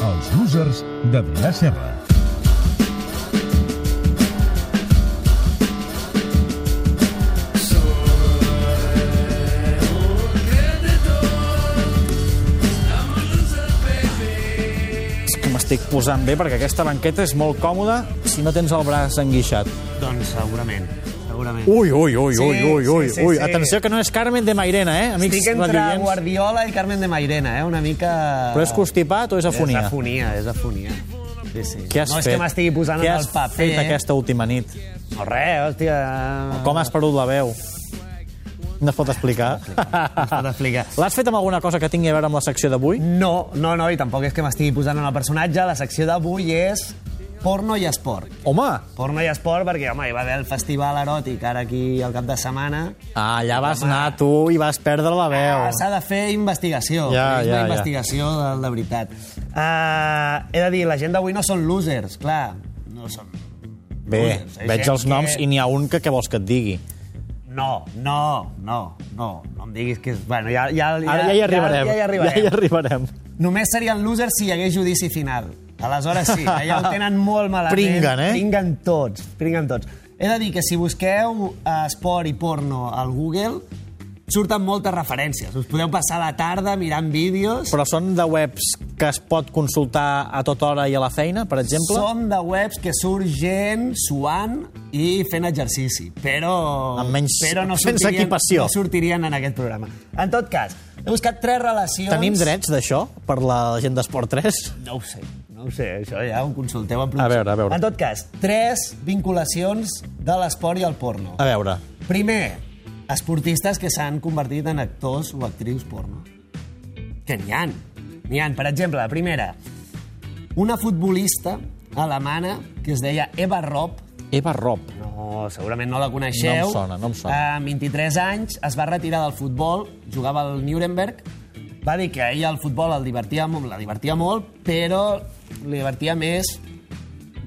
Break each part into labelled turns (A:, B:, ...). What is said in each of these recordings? A: Closers de Vila-serra.
B: És que m'estic posant bé perquè aquesta banqueta és molt còmoda si no tens el braç enguixat.
C: Doncs segurament, segurament.
B: Ui, ui, ui,
C: Sí,
B: ui, ui, ui,
C: sí, sí,
B: ui.
C: sí.
B: Atenció que no és Carmen de Mairena, eh, amics
C: Estic entre
B: radioients.
C: Guardiola i Carmen de Mairena, eh? Una mica...
B: Però és constipat o és afonia?
C: És afonia, és afonia. Sí, sí.
B: Què has
C: no és
B: fet?
C: que m'estigui posant
B: Què
C: en
B: has
C: el paper. eh?
B: fet aquesta última nit?
C: No, res, hòstia...
B: Com has perdut la veu? No es pot explicar?
C: Es pot explicar.
B: L'has fet amb alguna cosa que tingui a veure amb la secció d'avui?
C: No, no, no, i tampoc és que m'estigui posant en el personatge. La secció d'avui és porno i esport.
B: Home!
C: Porno i esport perquè, home, hi va haver el festival eròtic ara aquí al cap de setmana.
B: Ah, allà vas anar tu i vas perdre la
C: Ah,
B: veu.
C: S'ha de fer investigació.
B: Ja,
C: és
B: ja,
C: una
B: ja.
C: investigació de, de veritat. Uh, he de dir, la gent d'avui no són losers, clar. No són...
B: Bé,
C: losers. Hi ha
B: veig
C: gent
B: els noms
C: que-
B: i n'hi ha un que què vols que et digui.
C: No, no, no, no. No em diguis que... és- Bueno, ja, ja,
B: Ara ja hi arribarem.
C: Ja, ja hi arribarem.
B: Ja hi arribarem.
C: Només serien losers si hi hagués judici final. Aleshores sí, allà ho tenen molt malament.
B: Pringuen, eh?
C: Pringuen tots, pringuen tots. He de dir que si busqueu eh, esport i porno al Google, surten moltes referències. Us podeu passar la tarda mirant vídeos.
B: Però són de webs que es pot consultar a tota hora i a la feina, per exemple?
C: Som de webs que surt gent suant i fent exercici, però...
B: Amb menys-
C: però no
B: sense
C: sortirien-
B: equipació.
C: No sortirien en aquest programa. En tot cas, he buscat tres relacions...
B: Tenim drets d'això per la gent d'Esport 3?
C: No ho sé, no ho sé, això ja ho consulteu en
B: A veure, a veure.
C: En tot cas, tres vinculacions de l'esport i el porno.
B: A veure,
C: Primer, esportistes que s'han convertit en actors o actrius porno. Que n'hi han. N'hi han, per exemple, la primera, una futbolista alemana que es deia Eva Robb,
B: Eva Rob.
C: no, segurament no la coneixeu.
B: No em sona, no em sona.
C: Amb 23 anys es va retirar del futbol, jugava al Nuremberg. Va dir que a ella el futbol el divertia, molt- la divertia molt, però li divertia més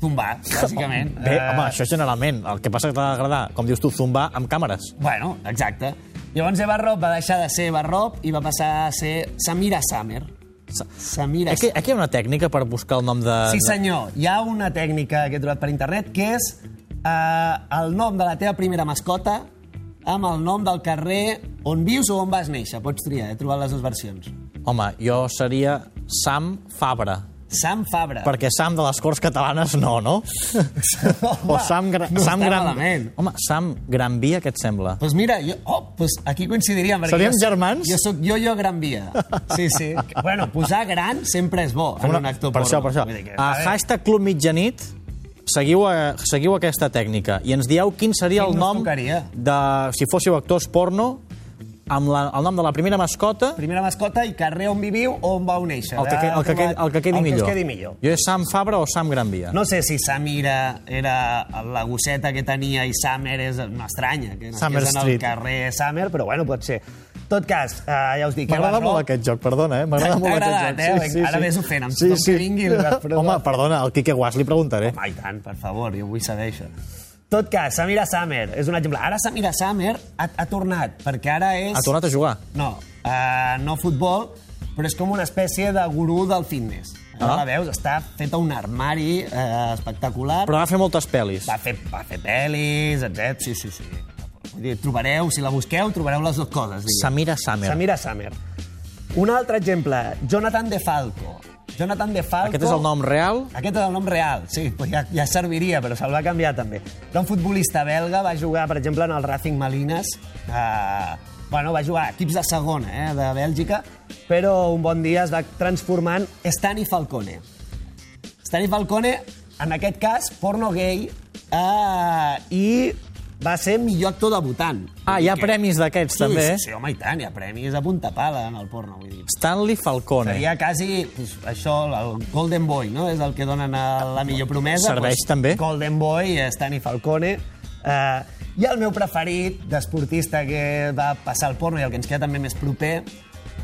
C: tombar, bàsicament.
B: Bé,
C: Eh,
B: home, això generalment. El que passa que t'ha d'agradar, com dius tu, zumbar amb càmeres.
C: Bueno, exacte. Llavors Eva Rob va deixar de ser Eva Rob i va passar a ser Samira Summer.
B: Sa-
C: Samira
B: Aquí, aquí hi ha una tècnica per buscar el nom de...
C: Sí, senyor. Hi ha una tècnica que he trobat per internet que és eh, el nom de la teva primera mascota amb el nom del carrer on vius o on vas néixer. Pots triar, he trobat les dues versions.
B: Home, jo seria Sam Fabra.
C: Sam Fabra.
B: Perquè Sam de les Corts Catalanes no, no? o Sam, Gra
C: no
B: Sam
C: està
B: Gran...
C: malament.
B: Home, Sam Gran Via, què et sembla?
C: Doncs mira, jo, oh, pues aquí coincidiríem. perquè
B: Seríem
C: jo soc-
B: germans?
C: Jo soc jo-jo Gran Via. Sí, sí. bueno, posar gran sempre és bo en un actor
B: per això, per
C: porno.
B: això.
C: Vull dir que-
B: A
C: veure.
B: hashtag Club Mitjanit seguiu, a, seguiu aquesta tècnica i ens dieu quin seria
C: Quin
B: el
C: us
B: nom
C: tocaria?
B: de, si fóssiu actors porno amb la, el nom de la primera mascota el
C: Primera mascota i carrer on viviu o on vau néixer.
B: que, que- el que, quedi, el que quedi
C: el
B: millor.
C: Que us quedi millor.
B: Jo és Sam Fabra o Sam Gran Via.
C: No sé si Samira era la gosseta que tenia i Summer és una estranya, que nasqués
B: Summer
C: en el
B: Street.
C: carrer Summer, però bueno, pot ser. En tot cas, eh, ja us dic...
B: M'agrada
C: Eva Rob-
B: molt aquest joc, perdona, eh? M'agrada
C: T'ha
B: molt
C: agradat,
B: aquest joc.
C: eh? Ara vés ofent amb tothom que vingui i li vas provar.
B: Home, perdona, al Quique eh? Guas li preguntaré.
C: Home, i tant, per favor, jo vull saber això. En tot cas, Samira Summer és un exemple. Ara Samira Summer ha, ha tornat, perquè ara és...
B: Ha tornat a jugar.
C: No, eh, no futbol, però és com una espècie de gurú del fitness. Ara
B: Ah.
C: la veus, està feta un armari eh, espectacular.
B: Però va fer moltes pel·lis.
C: va fer, va fer pel·lis, etc. Sí, sí, sí. Vull dir, trobareu, si la busqueu, trobareu les dues coses. diguem.
B: Samira Samer.
C: Samira Summer. Un altre exemple, Jonathan De Falco. Jonathan De Falco...
B: Aquest és el nom real.
C: Aquest és el nom real, sí, però ja, ja serviria, però se'l va canviar també. Era un futbolista belga, va jugar, per exemple, en el Racing Malines, eh, bueno, va jugar a equips de segona, eh, de Bèlgica, però un bon dia es va transformar en Stani Falcone. Stani Falcone, en aquest cas, porno gay, eh, i va ser millor actor debutant.
B: Ah, hi ha premis d'aquests,
C: Sí,
B: també. eh?
C: Sí, sí, home, i tant, hi ha premis a punta pala en el porno, vull dir.
B: Stanley Falcone.
C: Seria quasi, pues, això, el Golden Boy, no? És el que donen a la millor promesa.
B: Serveix
C: doncs,
B: també.
C: Golden Boy, Stani Falcone. Eh, I el meu preferit d'esportista que va passar el porno i el que ens queda també més proper,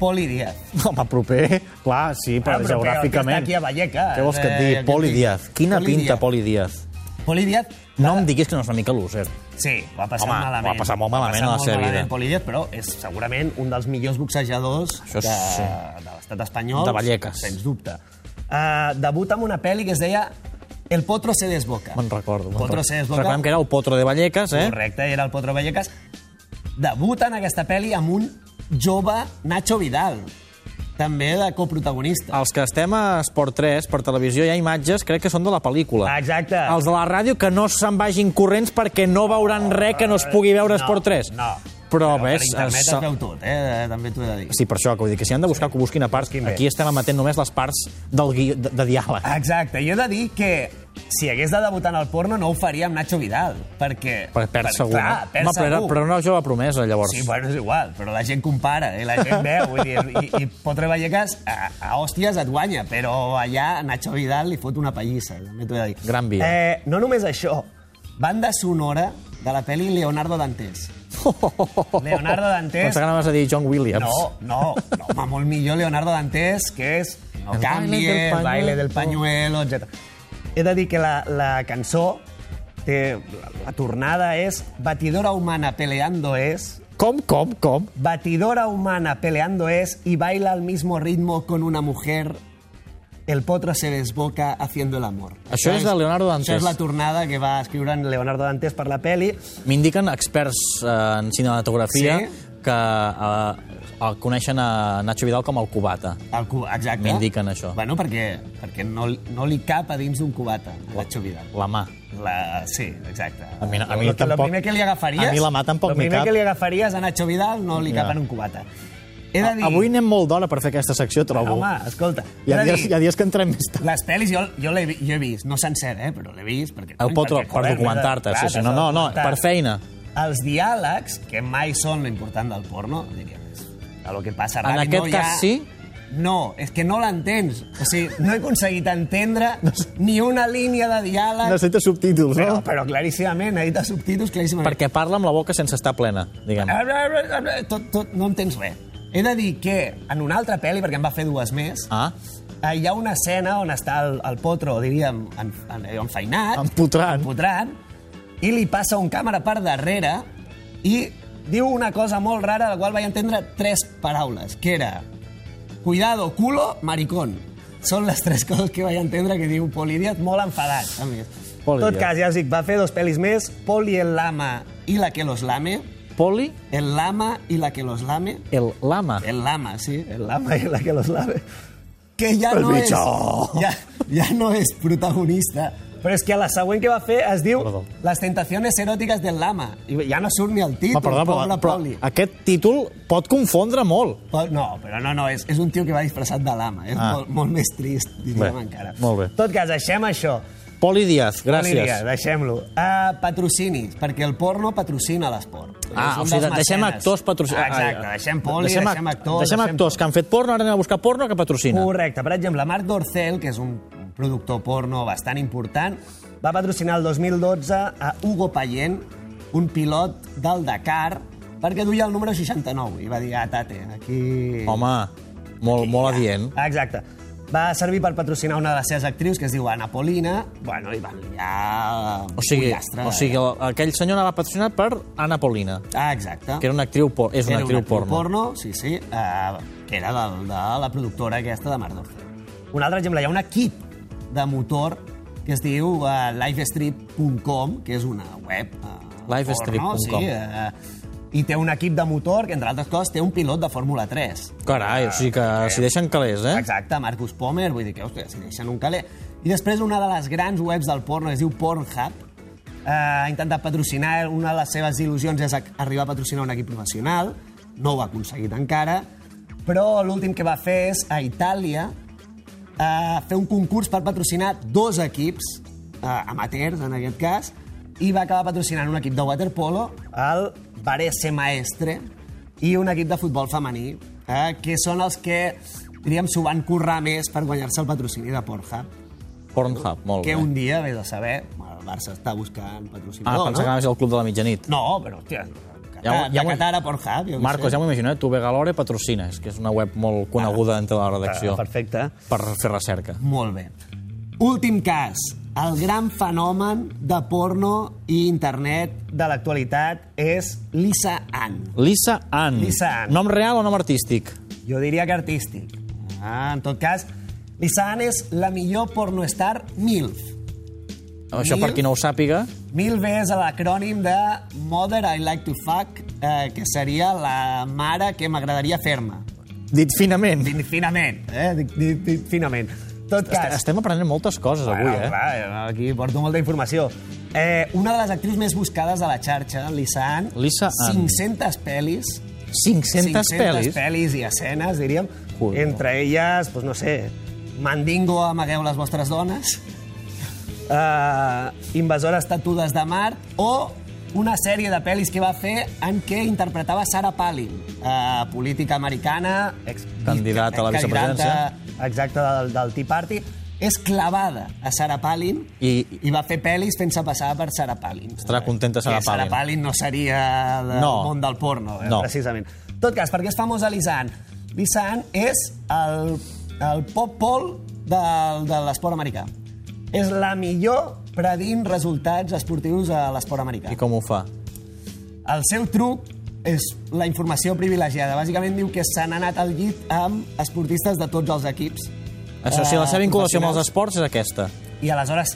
C: Poli Díaz.
B: Home, proper, clar, sí, però
C: Bueno, Ah, però
B: geogràficament.
C: que està aquí a Vallecas,
B: Què vols que et
C: eh,
B: digui?
C: aquest
B: Poli
C: tio.
B: Díaz. Quina
C: Poli
B: pinta,
C: Díaz.
B: Poli Díaz.
C: Poli Díaz,
B: No em diguis que no és una mica loser.
C: sí, ho ha passat
B: Home,
C: malament.
B: ho ha passat molt malament
C: Ho ha
B: a la
C: passat
B: seva
C: molt
B: vida.
C: malament, Poli Díaz, però és segurament un dels millors boxejadors
B: Això és-
C: de,
B: sí.
C: de l'estat espanyol.
B: De Vallecas.
C: Sens dubte. eh, debuta amb una pel·li que es deia El potro se desboca.
B: Me'n recordo. me'n
C: Potro
B: recordo.
C: se desboca.
B: Recordem que era el Potro de Vallecas, eh?
C: Correcte, era el Potro Vallecas. Debuta en aquesta pel·li amb un jove Nacho Vidal, també de coprotagonista.
B: Els que estem a Esport 3, per televisió, hi ha imatges, crec que són de la pel·lícula.
C: Exacte.
B: Ah, Els de la ràdio, que no se'n vagin corrents perquè no veuran res que no es pugui veure a Esport 3.
C: No.
B: Però, ves...
C: Per internet
B: es-
C: es veu tot, eh? també t'ho he de dir.
B: Sí, per això, que vull dir que si han de buscar que ho busquin a parts,
C: Busquin bé.
B: aquí estem emetent només les parts del guió, de, de diàleg.
C: Exacte, jo he de dir que si hagués de debutar en el porno no ho faria amb Nacho Vidal, perquè...
B: Per, per, segur.
C: Clar,
B: eh?
C: perd
B: Home, però, era,
C: segur.
B: però era una jove promesa, llavors.
C: Sí, bueno, és igual, però la gent compara, i la gent veu, vull dir, i, i Potre Vallecas a, a hòsties et guanya, però allà Nacho Vidal li fot una pallissa, també t'ho he de dir.
B: Gran via.
C: Eh, no només això, banda sonora de la pel·li Leonardo Dantes. Leonardo Dantes...
B: Pensava que anaves a dir John Williams.
C: No, no, no, home, molt millor Leonardo Dantes, que és No
B: El
C: canvie, el baile del pañuelo, etc. He de dir que la, la cançó, té, la, la tornada és Batidora humana peleando es,
B: Com, com, com?
C: Batidora humana peleando es y baila al mismo ritmo con una mujer. El potro se desboca haciendo el amor.
B: Això és de Leonardo Dantes.
C: Això és la tornada que va escriure en Leonardo Dantes per la peli.
B: M'indiquen experts eh, en cinematografia
C: Sí?
B: que eh, el coneixen a Nacho Vidal com el cubata.
C: El cu... Exacte.
B: M'indiquen això.
C: Bueno, perquè, perquè no, li- no li cap a dins d'un cubata, a Nacho Vidal.
B: La mà.
C: La... Sí, exacte.
B: A mi no- a mi
C: Lo que-
B: tampoc-
C: Lo primer que li agafaries...
B: a mi la mà tampoc
C: lo
B: m'hi
C: primer
B: cap.
C: que li agafaries a Nacho Vidal no li cap
B: Ja.
C: en un cubata. He de dir...
B: Avui anem molt d'hora per fer aquesta secció, trobo.
C: Home, escolta.
B: hi, ha
C: he de
B: dies,
C: dir-
B: hi ha dies que entrem més tard.
C: Les pel·lis jo, jo, l'he vi- jo he vist, no sencer, eh, però l'he vist. Perquè,
B: El potro,
C: perquè,
B: per
C: joder,
B: documentar-te,
C: clar,
B: sí, sí, no, no, no,
C: documentar.
B: per feina.
C: Els diàlegs, que mai són l'important del porno, diríem, és a lo que passa a
B: En
C: ràdio,
B: aquest
C: no hi
B: cas sí?
C: No, és que no l'entens. O sigui, no he aconseguit entendre ni una línia de diàleg,
B: Necessita subtítols,
C: però,
B: no?
C: però claríssimament, he dit subtítols claríssimament.
B: Perquè parla amb la boca sense estar plena, diguem.
C: Ah. Tot, tot, no entens res. He de dir que en una altra pel·li, perquè en va fer dues més,
B: Ah,
C: Ah, hi ha una escena on està el, el potro, diríem, en, en, eh, enfeinat,
B: empotrant.
C: empotrant, i li passa un càmera per darrere i diu una cosa molt rara, la qual vaig entendre tres paraules, que era cuidado, culo, maricón. Són les tres coses que vaig entendre que diu Polidiat molt enfadat, a més.
B: Pol
C: En tot
B: Idiot.
C: cas, ja us dic, va fer dos pel·lis més, Poli el lama i la que los lame,
B: Poli,
C: el lama i la que los lame,
B: el lama.
C: el lama, sí, el lama y la que los lave. Que ja
B: El
C: no és...
B: bicho.
C: Ja, ja no és protagonista. Però és que a la següent que va fer es diu
B: Perdó.
C: Les tentaciones eròtiques del lama. I ja no surt ni el títol,
B: Ma, perdó, però,
C: pobre
B: però
C: Poli.
B: aquest títol pot confondre molt.
C: Pol- No, però no, no, és, és un tio que va disfressat de lama. És
B: Ah.
C: molt, molt més trist, diríem
B: Bé,
C: encara.
B: molt bé.
C: En tot cas, deixem això.
B: Poli Díaz,
C: Lídia,
B: gràcies.
C: Deixem-lo. Uh, patrocinis, perquè el porno patrocina l'esport. És
B: Ah,
C: un
B: o sigui,
C: dels
B: deixem
C: mecenes. Ah,
B: actors patrocinats.
C: Exacte, deixem poli, deixem, deixem actors.
B: Ah, Deixem actors que han fet porno, ara anem a buscar porno que patrocina.
C: Correcte. Per exemple, Marc Dorcel, que és un productor porno bastant important, va patrocinar el 2012 a Hugo Payén, un pilot del Dakar, perquè duia el número 69. I va dir, ah, tate, aquí...
B: Home, molt, molt adient.
C: Exacte. Va servir per patrocinar una de les seves actrius, que es diu Ana Polina. Bueno, i van liar...
B: O sigui,
C: pollastre,
B: o sigui el- aquell senyor anava patrocinat per Anna Paulina,
C: Ah, exacte.
B: que era una actriu, por és una
C: Era
B: actriu porno.
C: porno, sí, sí, eh, que era de, de la productora aquesta de Mardor. Un altre exemple, hi ha un equip de motor que es diu uh, livestrip.com, que és una web uh,
B: Livestrip.com.
C: sí, uh, i té un equip de motor que, entre altres coses, té un pilot de Fórmula 3.
B: Carai, o sigui que s'hi deixen calés, eh?
C: Exacte, Marcus Pomer, vull dir que, hòstia, si deixen un caler. I després una de les grans webs del porno, que es diu Pornhub, eh, ha intentat patrocinar, eh, una de les seves il·lusions és ac- arribar a patrocinar un equip professional, no ho ha aconseguit encara, però l'últim que va fer és a Itàlia eh, fer un concurs per patrocinar dos equips, eh, amateurs en aquest cas, i va acabar patrocinant un equip de waterpolo, el Varese Maestre, i un equip de futbol femení, eh, que són els que, diríem, s'ho van currar més per guanyar-se el patrocini de Pornhub,
B: Pornhub, molt
C: que
B: bé.
C: un dia, vés a saber, el Barça està buscant
B: Ah,
C: patrocinador,
B: pensava que
C: no?
B: anaves al Club de la Mitjanit.
C: No, però, hòstia,
B: Ja ho- ja
C: Qatar, ja,
B: ho-
C: ja, Qatar a Pornhub, jo què
B: Marcos,
C: sé.
B: ja m'ho imagino, eh? Tu Vegalore patrocines, que és una web molt coneguda entre la redacció
C: Perfecte.
B: Ah, per fer recerca.
C: Molt bé. Últim cas. El gran fenomen de porno i internet de l'actualitat és Lisa Ann.
B: Lisa Ann.
C: Lisa Ann.
B: Nom real o nom artístic?
C: Jo diria que artístic. Ah, en tot cas, Lissan és la millor pornoestar MILF.
B: Això per qui no ho sàpiga.
C: MILF és l'acrònim de Mother I Like to Fuck, eh, que seria la mare que m'agradaria fer-me.
B: Dit finament.
C: Dit finament, eh? Dit, dit, dit finament. Tot
B: Est-
C: cas,
B: Estem aprenent moltes coses avui,
C: bueno,
B: eh?
C: clar, aquí porto molta informació. Eh, una de les actrius més buscades de la xarxa, Lisa Ann,
B: Lisa Ann.
C: 500 pel·lis,
B: 500 pel·lis.
C: pel·lis i escenes, diríem.
B: Joder.
C: Entre elles, doncs no sé, Mandingo, amagueu les vostres dones, uh, Invasores tatudes de mar, o una sèrie de pel·lis que va fer en què interpretava Sarah Palin, uh, política americana, ex
B: Candidata a la
C: candidata,
B: vicepresidència.
C: Exacte, del, del Tea Party. És clavada a Sarah Palin
B: I-
C: i va fer pel·lis fent-se passar per Sarah Palin.
B: Estarà contenta Sarah
C: Que Sarah
B: Palin.
C: Palin no seria del
B: No.
C: món del porno, eh?
B: No.
C: precisament. Tot cas, perquè és famosa l'Isan. L'Isan és el, el pop pol de, de l'esport americà. És la millor predint resultats esportius a l'esport americà.
B: I com ho fa?
C: El seu truc és la informació privilegiada. Bàsicament diu que se n'ha anat al llit amb esportistes de tots els equips.
B: Això, sí, la seva
C: Eh,
B: vinculació amb els esports
C: professionals.
B: és aquesta.
C: I aleshores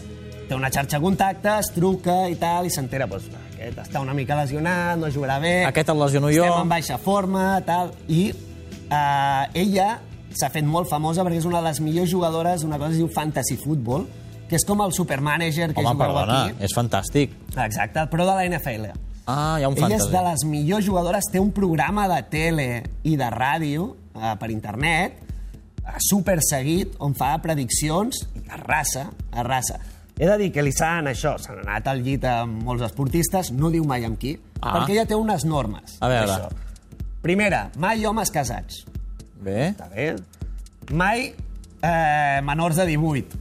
C: té una xarxa de contactes, truca i tal, i s'entera, doncs, aquest està una mica lesionat, no jugarà bé...
B: Aquest el lesiono jo.
C: Eh, Estem en baixa forma, tal... I eh, ella s'ha fet molt famosa perquè és una de les millors jugadores d'una cosa que es diu fantasy football, que és com el supermanager que
B: Home,
C: jugueu
B: perdona,
C: aquí.
B: és fantàstic.
C: Exacte, però de la NFL.
B: Ah, hi ha un
C: Ella és
B: fantasy.
C: de les millors jugadores, té un programa de tele i de ràdio eh, per internet, eh, super seguit, on fa prediccions, i arrasa, arrasa. He de dir que li s'han això, s'han anat al llit amb molts esportistes, no diu mai amb qui,
B: Ah.
C: perquè ella té unes normes.
B: A veure.
C: Això. Primera, mai homes casats.
B: Bé.
C: Està bé? Mai eh, menors de 18.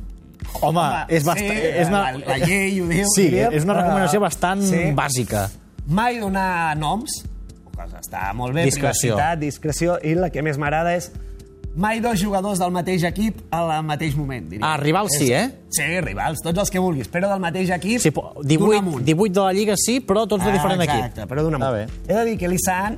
B: Home,
C: Home,
B: és,
C: sí,
B: basta... és una...
C: la- la llei ho diu,
B: Sí,
C: diríem.
B: és una recomanació
C: Ah,
B: bastant
C: sí.
B: bàsica.
C: Mai donar noms, cosa està molt bé,
B: Discreció.
C: privacitat, discreció, i la que més m'agrada és mai dos jugadors del mateix equip al mateix moment, diria.
B: Ah, rivals sí, eh?
C: Sí, rivals, tots els que vulguis, però del mateix equip,
B: Sí, po- 18,
C: amunt. Ah,
B: 18 de la Lliga sí, però tots de diferent
C: exacte,
B: equip.
C: però d'una
B: Ah,
C: mà.
B: bé.
C: He de dir que l'Issan,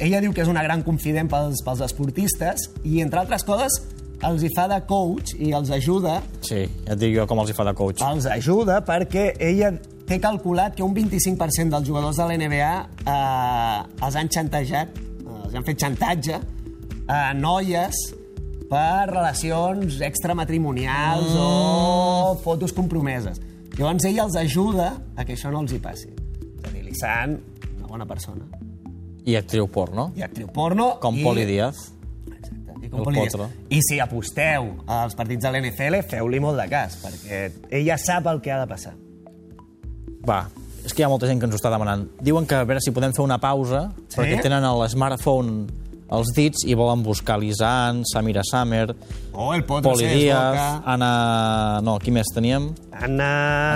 C: ella diu que és una gran confident pels, pels esportistes i, entre altres coses, els hi fa de coach i els ajuda
B: Sí, ja et dic jo com els hi fa de coach.
C: els ajuda perquè ella té calculat que un 25% dels jugadors de la NBA eh, els han xantejat, eh, els han fet xantatge a noies per relacions extramatrimonials mm. o fotos compromeses. Llavors ella els ajuda a que això no els hi passi. És a dir, Lissan, una bona persona.
B: I actriu porno,
C: I actriu porno.
B: com
C: i...
B: Poli Díaz.
C: Exacte. I,
B: El
C: com li dius,
B: potro.
C: I si aposteu als partits de l'NFL, feu-li molt de cas, perquè ella sap el que ha de passar.
B: Va, és que hi ha molta gent que ens ho està demanant. Diuen que a veure si podem fer una pausa,
C: Sí?
B: perquè tenen el smartphone als dits i volen buscar l'Isan, Samira Summer,
C: Oh, el pot
B: Poli
C: ser,
B: Díaz,
C: Boca.
B: Ana... No, qui més teníem?
C: Anna...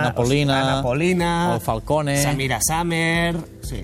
B: Ana Polina,
C: Ana Polina.
B: el Falcone.
C: Samira Summer. Sí,